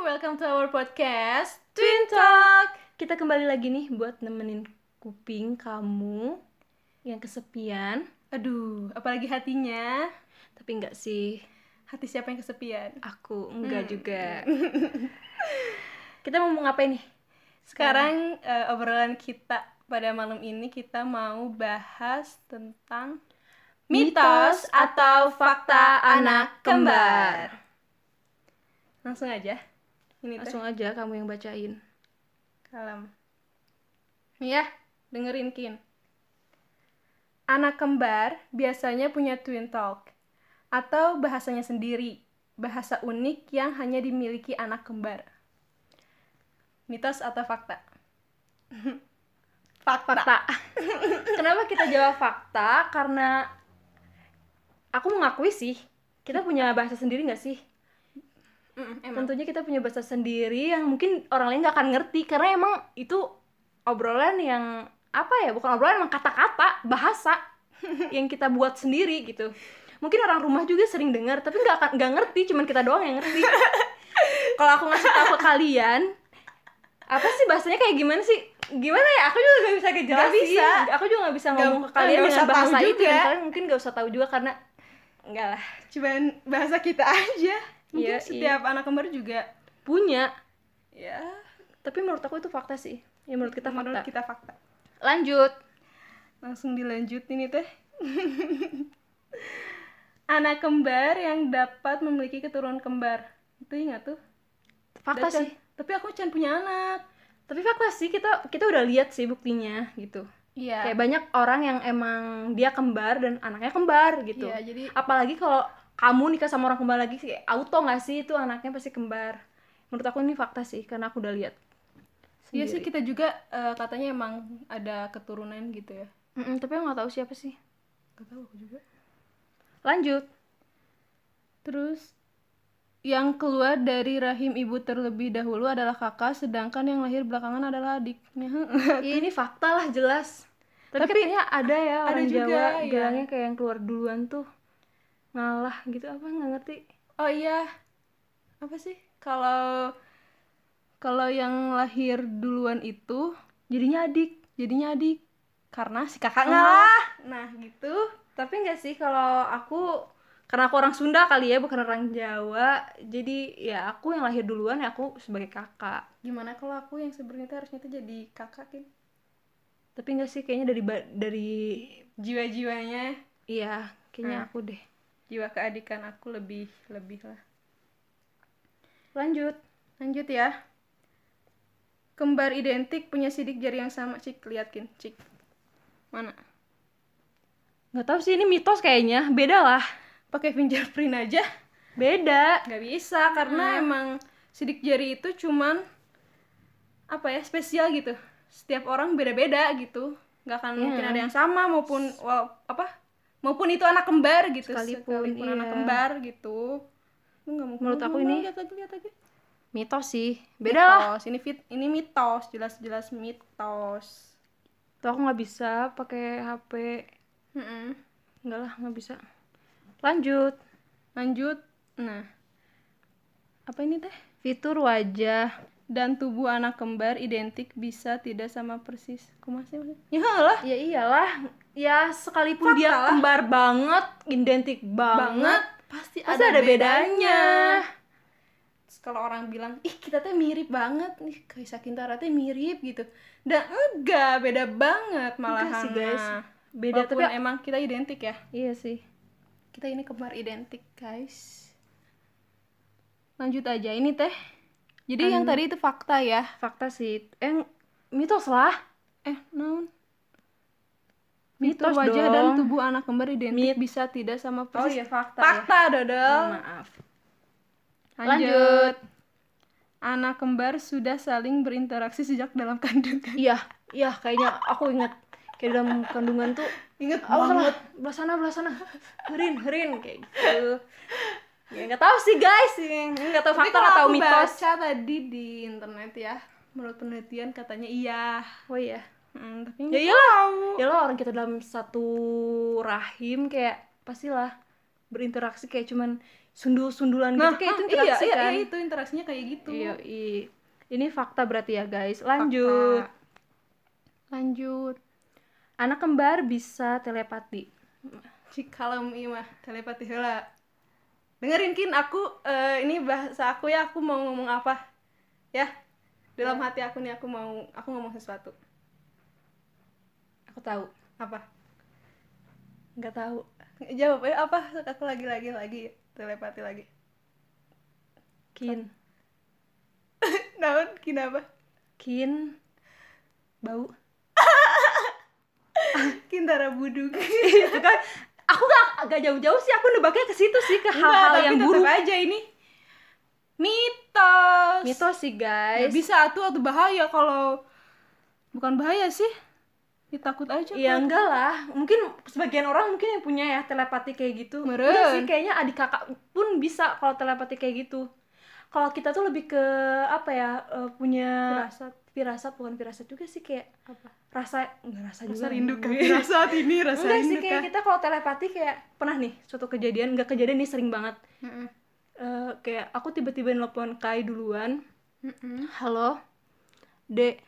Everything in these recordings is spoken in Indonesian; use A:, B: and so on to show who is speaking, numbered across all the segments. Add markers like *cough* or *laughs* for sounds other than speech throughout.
A: welcome to our podcast Twin Talk.
B: Kita kembali lagi nih buat nemenin kuping kamu yang kesepian.
A: Aduh, apalagi hatinya.
B: Tapi enggak sih,
A: Hati siapa yang kesepian?
B: aku enggak
A: Hmm.
B: juga.
A: *laughs*
B: kita mau ngapain nih?
A: Sekarang eh, obrolan kita pada malam ini kita mau bahas tentang mitos atau fakta anak kembar. Langsung aja. Ini tuh
B: Langsung aja kamu yang bacain.
A: kalem. Nih ya, dengerin Kin. Anak kembar biasanya punya twin talk atau bahasanya sendiri, bahasa unik yang hanya dimiliki anak kembar. Mitos atau fakta? *laughs* fakta.
B: Fakta. *laughs* Kenapa kita jawab fakta? Karena aku mengakui sih, kita punya bahasa sendiri nggak sih?
A: Mm, emang.
B: Tentunya kita punya bahasa sendiri yang mungkin orang lain nggak akan ngerti karena emang itu obrolan yang apa ya? Bukan obrolan, emang kata-kata, bahasa
A: *laughs*
B: yang kita buat sendiri gitu. Mungkin orang rumah juga sering dengar, tapi nggak akan nggak ngerti, cuman kita doang yang
A: *laughs*
B: ngerti. Kalau aku ngasih tahu ke kalian, apa sih bahasanya kayak gimana sih? Gimana ya? Aku juga nggak bisa ngejelasin.
A: Nggak bisa.
B: Aku juga nggak bisa ngomong
A: Nggak-
B: ke kalian
A: nggak
B: dengan
A: usah tahu
B: bahasa itu.
A: juga.
B: Dan kalian mungkin nggak usah tahu juga karena enggak lah.
A: Cuman bahasa kita aja. Mungkin
B: Iya,
A: setiap anak kembar juga
B: Punya
A: ya
B: tapi menurut aku itu fakta sih ya menurut kita fakta
A: menurut kita fakta.
B: lanjut
A: Langsung dilanjutin itu. *laughs* anak kembar yang dapat memiliki keturunan kembar. Itu ingat tuh.
B: fakta
A: Dan Chan-
B: sih
A: Tapi aku Chan punya anak.
B: tapi fakta sih kita kita udah lihat sih buktinya gitu
A: Iya.
B: kayak banyak orang yang emang dia kembar dan anaknya kembar gitu
A: Iya, jadi
B: apalagi kalau kamu nikah sama orang kembar lagi kayak auto nggak sih itu anaknya pasti kembar menurut aku ini fakta sih karena aku udah lihat
A: Iya sih
B: sendiri.
A: kita juga eh, katanya emang ada keturunan gitu ya.
B: Mm-mm, tapi aku nggak tahu siapa sih
A: Gak tahu aku juga.
B: lanjut
A: Terus yang keluar dari rahim ibu terlebih dahulu adalah kakak, sedangkan yang lahir belakangan adalah adiknya. *laughs*
B: Iya, ini fakta lah jelas tapi,
A: Tapi
B: katanya ada ya
A: ada
B: orang
A: juga,
B: Jawa
A: iya.
B: bilangnya kayak yang keluar duluan tuh ngalah gitu apa nggak ngerti
A: oh iya, apa sih? Kalau kalau yang lahir duluan itu
B: jadinya adik
A: jadinya adik karena si kakak
B: Ngalah.
A: ngalah. Nah gitu.
B: tapi enggak sih kalau aku karena aku orang Sunda kali ya bukan orang Jawa jadi ya aku yang lahir duluan ya aku sebagai kakak
A: Gimana kalau aku yang sebenarnya tuh harusnya tuh jadi kakak kan?
B: tapi enggak sih kayaknya dari ba- dari
A: Jiwa-jiwanya,
B: iya kayaknya aku deh
A: jiwa keadikan aku lebih lebih lah.
B: lanjut
A: Lanjut ya. Kembar identik punya sidik jari yang sama, Cik. Lihatkin, Cik. Mana?
B: nggak tahu sih ini mitos kayaknya beda lah
A: Pakai fingerprint aja
B: beda
A: nggak bisa karena
B: Hmm.
A: emang sidik jari itu cuman apa ya, spesial gitu. Setiap orang beda-beda gitu. nggak akan mungkin
B: Hmm.
A: ada yang sama maupun wal- apa? Maupun itu anak kembar gitu.
B: Sekalipun,
A: anak
B: iya.
A: kembar gitu. Lu nggak mungkin-
B: Menurut aku
A: lu- lu
B: ini
A: lihat lagi, lihat lagi.
B: mitos sih beda lah
A: Mitos. Ini fit, ini mitos, jelas-jelas mitos.
B: tuh aku nggak bisa pakai HP Hmm.
A: Mm-mm.
B: enggak lah nggak bisa lanjut
A: Lanjut. Nah. Apa ini teh?
B: fitur wajah
A: Dan tubuh anak kembar identik bisa tidak sama persis. Kumaha sih maksudnya? Ya lah.
B: ya iyalah ya sekalipun dia
A: Fakta lah.
B: kembar banget identik banget,
A: Banget. Pasti,
B: pasti ada, bedanya,
A: Terus Kalau orang bilang, "Ih, kita teh mirip banget nih, Kaisa Kintara teh mirip gitu." Dan enggak, beda banget malahan.
B: sih, guys.
A: mah.
B: beda
A: Walaupun
B: tapi
A: emang kita identik ya.
B: iya sih
A: Kita ini kembar identik, guys. Lanjut aja ini teh. Jadi yang tadi itu fakta ya.
B: fakta sih eh mitos lah
A: Eh, naon?
B: mitos
A: Mitos wajah
B: dong. Oh iya,
A: dan tubuh anak kembar identik bisa tidak sama persis.
B: fakta ya.
A: Fakta, Dodol.
B: Eh, maaf Lanjut.
A: Lanjut. Anak kembar sudah saling berinteraksi sejak dalam kandungan.
B: iya iya kayaknya aku inget kayak dalam kandungan tuh
A: Ingat oh,
B: aku salah belah sana belah sana herin herin kayak gitu ya nggak tahu sih guys nggak tahu fakta nggak tahu mitos
A: baca tadi di internet ya. Menurut penelitian katanya iya.
B: oh iya
A: Hmm, tapi
B: ya
A: nggak
B: iyalah ya lah orang kita dalam satu rahim kayak pastilah berinteraksi kayak cuman sundul-sundulan
A: Nah,
B: gitu kayak itu
A: ah, iya,
B: interaksi
A: iya,
B: kan.
A: iya, itu interaksinya kayak gitu.
B: Yoi. Ini fakta berarti ya guys. Lanjut.
A: Fakta. Lanjut.
B: Anak kembar bisa telepati.
A: Cikalem imah telepati heula. Dengerin kin aku eh, ini bahasa aku ya aku mau ngomong apa? Ya. Dalam hati aku nih aku mau aku ngomong sesuatu.
B: Aku tahu.
A: Apa?
B: Nggak tahu.
A: Jawab eh, apa? Aku lagi lagi lagi telepati lagi. *laughs*
B: Kin.
A: Naon kin apa?
B: Kin. Bau.
A: *laughs* Kintara buduk.
B: Itu kan aku gak, gak jauh-jauh sih aku nebaknya ke situ sih ke
A: Enggak,
B: hal-hal
A: tapi
B: yang
A: tetep
B: buruk.
A: aja ini mitos.
B: Mitos sih
A: Ya
B: guys.
A: bisa tuh atau bahaya kalau bukan bahaya sih. Ya, takut aja
B: Ya
A: Kak.
B: enggak lah, mungkin sebagian orang mungkin yang punya ya telepati kayak gitu.
A: Meren.
B: Udah sih kayaknya adik kakak pun bisa kalau telepati kayak gitu. Kalau kita tuh lebih ke apa ya eh, punya
A: Firasat.
B: firasat bukan firasat juga sih kayak
A: Apa?
B: rasa enggak rasa, juga. ya,
A: rasa rindu kan
B: Enggak
A: rasa ini rasa
B: sih
A: rindu
B: kayak gitu. kita kalau telepati kayak pernah nih suatu kejadian enggak kejadian nih sering banget. Eh, kayak aku tiba-tiba nelpon Kai duluan. Halo. Dek.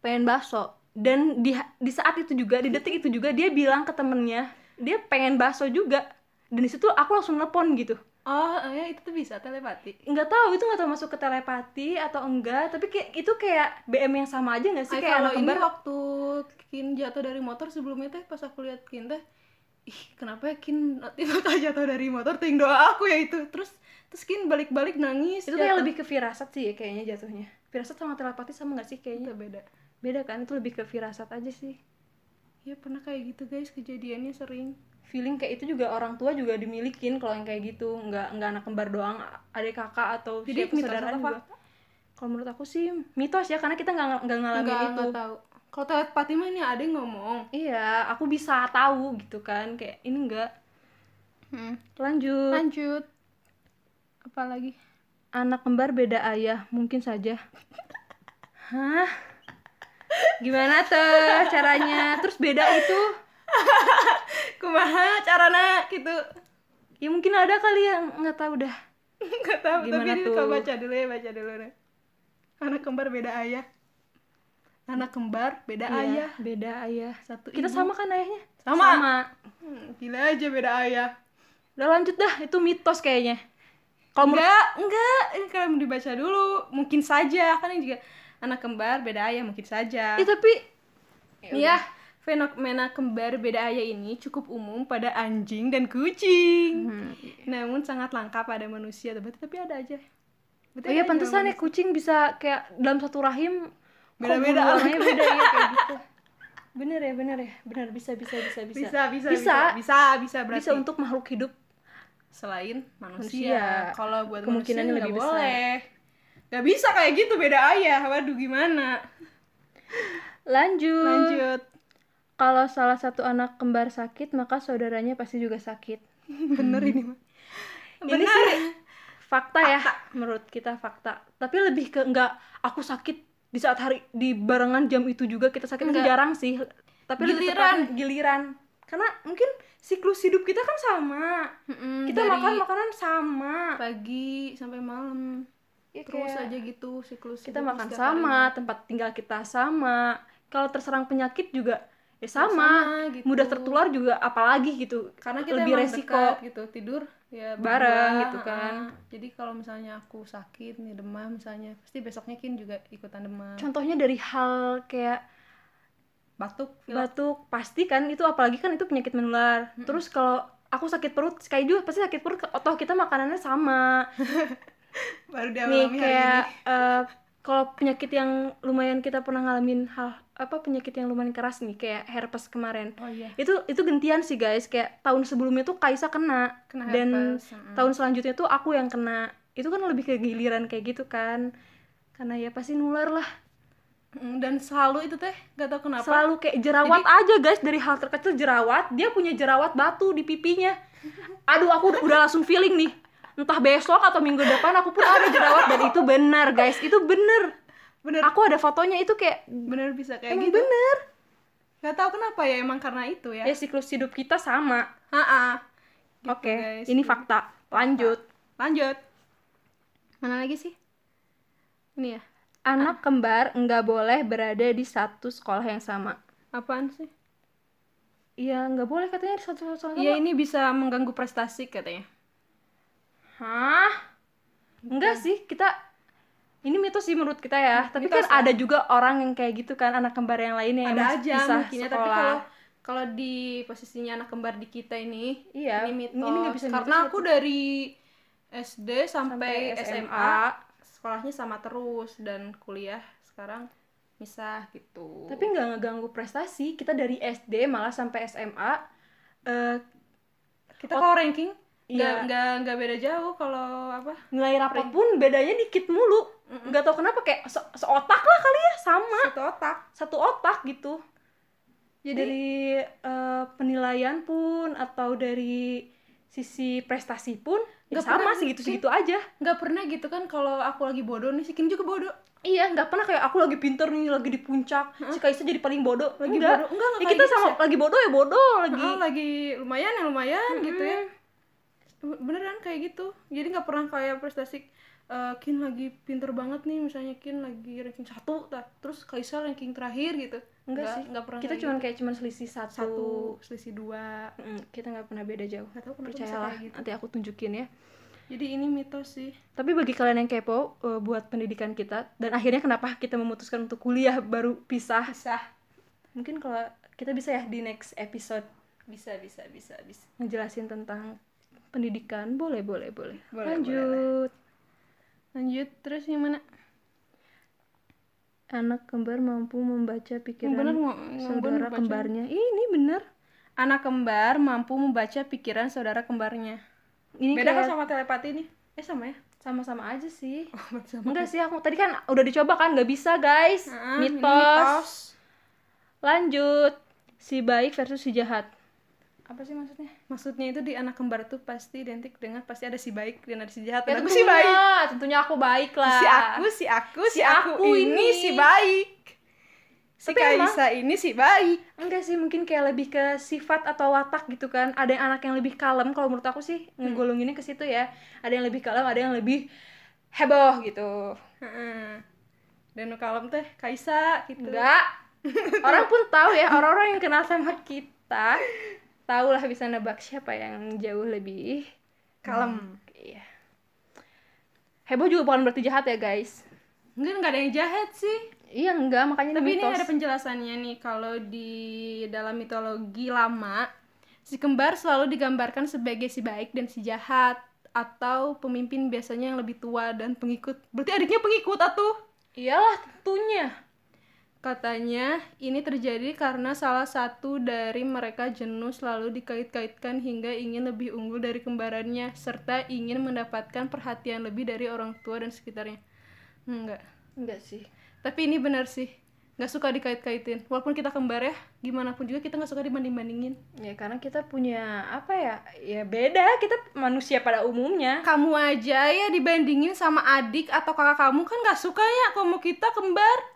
B: Pengen bakso. Dan di di saat itu juga, di detik itu juga dia bilang ke temennya, dia pengen bakso juga. Dan di situ aku langsung nelpon gitu.
A: oh ya itu tuh bisa telepati
B: Nggak tahu itu nggak tahu masuk ke telepati atau enggak, tapi kayak itu kayak BM yang sama aja nggak sih
A: Ay,
B: kayak
A: kalau
B: anak
A: ini
B: kembar.
A: waktu Kin jatuh dari motor sebelumnya teh pas aku lihat Kin teh ih kenapa ya Kin *laughs* tiba-tiba jatuh dari motor ting doa aku ya itu terus terus Kin balik-balik nangis
B: Itu kayak lebih ke firasat sih ya kayaknya jatuhnya. Firasat sama telepati sama nggak sih
A: Iya,
B: kayaknya?
A: beda
B: Beda kan? Itu lebih ke firasat aja sih.
A: ya pernah kayak gitu guys kejadiannya sering
B: feeling kayak itu juga orang tua juga dimilikin kalau yang kayak gitu nggak nggak anak kembar doang adik kakak atau
A: Jadi
B: siapa
A: mitos
B: saudara
A: atau
B: juga.
A: fakta?
B: kalau menurut aku sih mitos ya karena kita nggak nggak ngalamin
A: nggak
B: itu
A: nggak tahu kalau telepati mah ini ada yang ngomong
B: iya aku bisa tahu gitu kan kayak ini enggak Hmm. lanjut
A: lanjut apa *laughs* lagi
B: anak kembar beda ayah mungkin saja hah gimana tuh caranya terus beda itu
A: kumaha carana gitu
B: ya mungkin ada kali yang nggak tahu dah
A: Gak tahu, tapi
B: Gimana
A: ini
B: tuh?
A: kau baca dulu ya, baca dulu nih. Anak kembar beda ayah. Anak kembar beda
B: Iya,
A: ayah.
B: beda ayah
A: Satu
B: kita
A: ibu.
B: sama kan ayahnya
A: Sama.
B: sama.
A: Hmm, gila aja beda ayah.
B: Udah lanjut dah, itu mitos kayaknya. Kalau menurut
A: Enggak, enggak. Ini kalau mau dibaca dulu, mungkin saja kan ini juga anak kembar beda ayah mungkin saja.
B: Eh, tapi Ya
A: Iya, fenomena kembar beda ayah ini cukup umum pada anjing dan kucing.
B: Hmm.
A: Namun sangat langka pada manusia, tapi tapi ada aja. kan? Berarti
B: Oh
A: ada
B: iya
A: aja
B: pantesan ya kucing bisa kayak dalam satu rahim kok
A: Beda-beda
B: bulu warnanya beda ya kayak gitu. *laughs* Bener ya, bener ya. Bener bisa bisa bisa
A: Bisa,
B: bisa.
A: bisa, bisa,
B: Bisa.
A: bisa, bisa, bisa berarti.
B: Bisa untuk makhluk hidup.
A: selain
B: Manusia.
A: manusia. Kalau buat
B: Kemungkinannya
A: manusia nggak
B: lebih besar.
A: boleh. Gak bisa kayak gitu beda ayah. Waduh gimana?
B: Lanjut.
A: Lanjut.
B: Kalau salah satu anak kembar sakit, maka saudaranya pasti juga sakit.
A: Bener ini mah.
B: Ini
A: Bener.
B: sih fakta, ya menurut kita fakta. Tapi lebih ke enggak aku sakit di saat hari di barengan jam itu juga kita sakit itu
A: Enggak.
B: jarang sih. Tapi lebih
A: Giliran.
B: tepatnya giliran. Karena mungkin siklus hidup kita kan sama. Kita makan makanan sama.
A: pagi sampai malam.
B: Ya,
A: Terus
B: kayak
A: aja gitu siklus.
B: kita
A: hidup
B: makan
A: setiap
B: sama,
A: hari.
B: tempat tinggal kita sama. Kalau terserang penyakit juga ya
A: Sama, Hmm.
B: sama.
A: gitu.
B: Mudah tertular juga apalagi gitu.
A: Karena kita
B: lebih
A: emang
B: resiko.
A: dekat gitu tidur ya
B: Bareng
A: berdua,
B: gitu kan.
A: ah. Jadi kalau misalnya aku sakit nih demam misalnya, pasti besoknya kin juga ikutan demam.
B: Contohnya dari hal kayak
A: Batuk, pilek.
B: batuk pasti kan itu apalagi kan itu penyakit menular
A: Hmm.
B: terus kalau aku sakit perut kayak juga pasti sakit perut otak kita makanannya sama
A: baru
B: nih
A: dialami Ya, hari
B: kayak
A: ini.
B: eh, kalau penyakit yang lumayan kita pernah ngalamin hal apa penyakit yang lumayan keras nih kayak herpes kemarin
A: Oh iya.
B: itu itu gentian sih guys kayak tahun sebelumnya tuh Kaisa kena,
A: Kena
B: dan
A: herpes, mm-mm.
B: tahun selanjutnya tuh aku yang kena itu kan lebih ke giliran kayak gitu kan karena ya pasti nular lah
A: Mm, dan selalu itu teh gak tau kenapa
B: selalu kayak jerawat aja guys dari hal terkecil jerawat dia punya jerawat batu di pipinya *laughs* aduh aku udah, udah langsung feeling nih entah besok atau minggu depan aku pun ada jerawat dan itu benar guys itu bener
A: bener
B: aku ada fotonya itu kayak
A: bener bisa kayak
B: emang
A: gitu
B: bener
A: gak tau kenapa ya emang karena itu ya
B: ya siklus hidup kita sama
A: Ha-ha.
B: oke
A: guys.
B: ini fakta lanjut
A: Lanjut. Mana lagi sih? Ini ya.
B: anak kembar nggak boleh berada di satu sekolah yang sama
A: Apaan sih?
B: iya nggak boleh katanya di satu sekolah yang sama
A: Iya, ini bisa mengganggu prestasi katanya.
B: hah enggak sih kita ini mitos sih menurut kita ya tapi
A: Mitos
B: kan ada juga orang yang kayak gitu kan anak kembar yang lainnya yang
A: Ada
B: masih
A: aja
B: pisah
A: mungkin ya, tapi
B: sekolah.
A: kalau kalau di posisinya anak kembar di kita ini,
B: iya
A: ini mitos.
B: nggak bisa
A: Karena
B: mitos,
A: aku dari SD sampai,
B: Sampai
A: SMA,
B: SMA.
A: sekolahnya sama terus dan kuliah sekarang misah gitu.
B: tapi nggak ngeganggu prestasi kita dari SD malah sampai SMA eh
A: kita kalau ranking nggak
B: Iya.
A: nggak nggak beda jauh kalau apa?
B: nilai rapot pun bedanya dikit mulu nggak tau kenapa kayak se- seotak lah kali ya sama
A: Satu otak.
B: satu otak gitu
A: Jadi
B: dari eh, penilaian pun atau dari sisi prestasi pun ya
A: Nggak
B: sama
A: pernah
B: segitu segitu aja
A: nggak pernah gitu kan kalau aku lagi bodoh nih si Kim juga bodoh
B: iya nggak pernah kayak aku lagi pinter nih lagi di puncak si Kaisa jadi paling bodoh lagi
A: Enggak.
B: bodoh
A: Enggak, enggak
B: ya
A: kayak
B: kita
A: gitu
B: sama lagi bodoh ya bodoh lagi
A: lagi lagi lumayan ya lumayan gitu ya beneran kayak gitu jadi nggak pernah kayak prestasi eh, Kin lagi pinter banget nih misalnya Kin lagi ranking satu ta- terus Kaisa ranking terakhir gitu
B: enggak sih
A: nggak pernah
B: kita
A: kayak
B: cuma kayak cuman selisih satu,
A: gitu. satu selisih dua
B: Mm, kita nggak pernah beda jauh
A: nggak tahu kenapa bisa
B: percayalah
A: kayak gitu
B: nanti aku tunjukin ya
A: jadi ini mitos sih
B: Tapi bagi kalian yang kepo eh, buat pendidikan kita dan akhirnya kenapa kita memutuskan untuk kuliah baru pisah?
A: bisa
B: Mungkin kalau kita bisa ya di next episode
A: bisa bisa bisa bisa
B: ngejelasin tentang pendidikan. Boleh, boleh, boleh.
A: Boleh,
B: Lanjut.
A: lanjut terus yang mana
B: Anak kembar mampu membaca
A: yang bener
B: pikiran
A: nggak yang bener
B: saudara
A: baca.
B: kembarnya. Ih, ini bener.
A: anak kembar mampu membaca pikiran saudara kembarnya
B: Ini
A: beda kan
B: kayak
A: sama telepati *laughs* nih eh sama ya Oh,
B: sama-sama aja sih.
A: sama Ah,
B: Enggak sih, aku tadi kan udah dicoba kan nggak bisa, guys. mitos. Lanjut. Si baik versus si jahat. Apa sih maksudnya?
A: Maksudnya itu di anak kembar tuh pasti identik dengan pasti ada si baik dan ada si jahat.
B: Ya,
A: Dan aku
B: tentunya,
A: si baik.
B: tentunya aku baik lah.
A: Si aku, si aku, si,
B: Si
A: aku,
B: aku
A: ini
B: ini.
A: si baik. Si
B: Tapi emang-
A: Kaisa ini si baik.
B: Enggak sih, mungkin kayak lebih ke sifat atau watak gitu kan. Ada yang anak yang lebih kalem, kalau menurut aku sih
A: Hmm.
B: ngegolonginnya ke situ ya. Ada yang lebih kalem, ada yang lebih heboh gitu.
A: Heeh. Dan nu kalem teh Kaisa gitu. *laughs*
B: Enggak. Orang pun tahu ya, orang-orang yang kenal sama kita tahulah bisa nebak siapa yang jauh lebih.
A: Kalem.
B: Iya. Heboh juga bukan berarti jahat ya, guys.
A: Enggak enggak ada yang jahat sih.
B: Iya, enggak, makanya
A: Tapi ini
B: mitos.
A: ada penjelasannya nih kalau di dalam mitologi lama si kembar selalu digambarkan sebagai si baik dan si jahat atau pemimpin biasanya yang lebih tua dan pengikut. Berarti adiknya pengikut atuh.
B: Iyalah, tentunya.
A: Katanya ini terjadi karena salah satu dari mereka jenuh selalu dikait-kaitkan hingga ingin lebih unggul dari kembarannya serta ingin mendapatkan perhatian lebih dari orang tua dan sekitarnya. Hmm, Enggak.
B: Enggak sih.
A: Tapi ini benar sih. Nggak suka dikait-kaitin. Walaupun kita kembar ya, gimana pun juga kita nggak suka dibanding-bandingin.
B: Ya karena kita punya apa ya? Ya beda, kita manusia pada umumnya.
A: Kamu aja ya dibandingin sama adik atau kakak kamu kan nggak sukanya kamu kita kembar.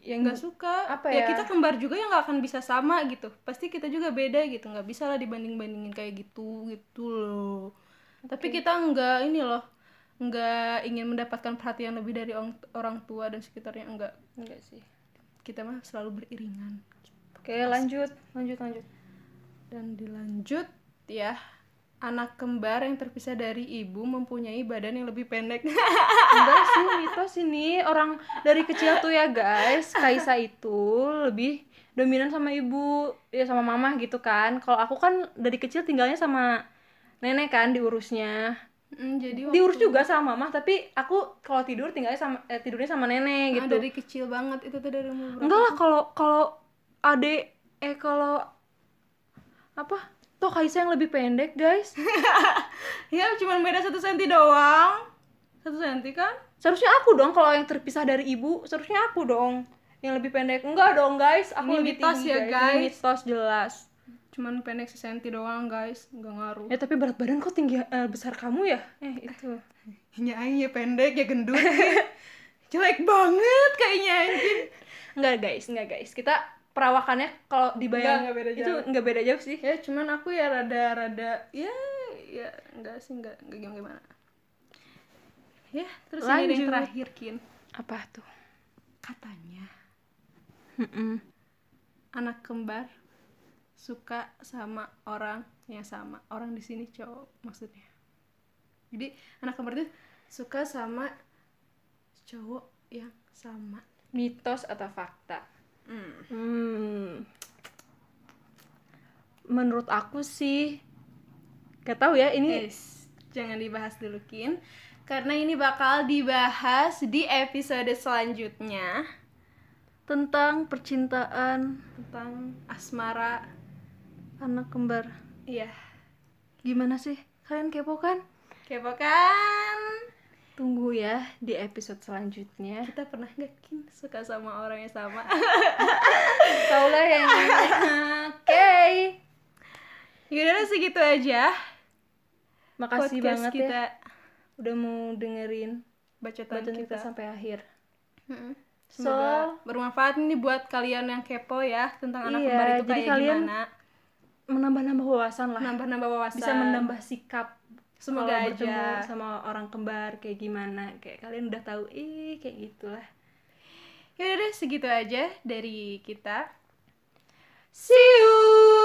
A: ya nggak suka
B: apa
A: ya?
B: ya?
A: kita kembar juga ya nggak akan bisa sama gitu pasti kita juga beda gitu nggak bisa lah dibanding bandingin kayak gitu gitu loh tapi kita nggak ini loh nggak ingin mendapatkan perhatian lebih dari orang, orang tua dan sekitarnya enggak
B: Enggak sih.
A: kita mah selalu beriringan
B: Oke, lanjut, lanjut, lanjut.
A: dan dilanjut ya anak kembar yang terpisah dari ibu mempunyai badan yang lebih pendek *laughs* Ah.
B: Enggak sih, mitos ini orang dari kecil tuh ya, guys. Kaisa itu lebih dominan sama ibu, ya sama mama gitu kan. Kalau aku kan dari kecil tinggalnya sama nenek kan diurusnya.
A: Mm, jadi waktu-
B: Diurus juga sama mama, tapi aku kalau tidur tinggalnya sama eh, tidurnya sama nenek
A: Ah,
B: gitu.
A: dari kecil banget itu tuh dari umur berapa?
B: enggak lah kalau kalau ade eh kalau apa toh Kaisa yang lebih pendek guys
A: ya cuma beda satu senti doang satu senti kan
B: seharusnya aku dong kalau yang terpisah dari ibu seharusnya aku dong yang lebih pendek enggak dong guys aku
A: Ini
B: lebih
A: mitos
B: tinggi
A: ya,
B: Ini
A: guys.
B: mitos jelas
A: cuman pendek senti doang guys nggak ngaruh
B: ya tapi berat badan kok tinggi eh, besar kamu ya eh itu
A: ya aing ya pendek ya gendut *laughs* nih. jelek banget kayaknya anjing
B: *laughs* enggak guys enggak guys kita perawakannya kalau
A: Enggak,
B: dibayang
A: enggak beda
B: itu enggak beda jauh sih
A: ya cuman aku ya rada rada ya ya enggak sih enggak enggak gimana gimana ya terus ini ada
B: Lanjut.
A: yang terakhir kin
B: Apa tuh?
A: katanya
B: Mm-mm.
A: anak kembar suka sama orang yang sama orang di sini cowok maksudnya jadi anak kembar itu suka sama cowok yang sama
B: Mitos atau fakta?
A: hmm.
B: Hmm. Menurut aku sih Gak tahu ya ini
A: Yes, jangan dibahas dulu kin karena ini bakal dibahas di episode selanjutnya
B: tentang percintaan
A: tentang asmara
B: anak kembar.
A: iya
B: Gimana sih? Kalian kepo kan?
A: kepo kan
B: Tunggu ya di episode selanjutnya.
A: kita pernah nggak kin suka sama orang yang sama
B: *laughs*
A: *laughs*
B: Taulah ya, yang Oke.
A: yaudah segitu aja
B: Makasih
A: podcast
B: banget ya
A: kita
B: udah mau dengerin
A: bacotan,
B: bacaan kita
A: kita
B: sampai akhir.
A: Mm-mm.
B: So-
A: Semoga bermanfaat nih buat kalian yang kepo ya tentang anak
B: Iya,
A: kembar itu
B: jadi
A: kayak
B: kalian
A: gimana.
B: Menambah-nambah wawasan lah.
A: Nambah-nambah wawasan.
B: Bisa menambah sikap
A: Semoga
B: kalau
A: aja.
B: bertemu sama orang kembar kayak gimana. Kayak kalian udah tahu ih kayak gitulah.
A: Yaudah deh, segitu aja dari kita.
B: See you.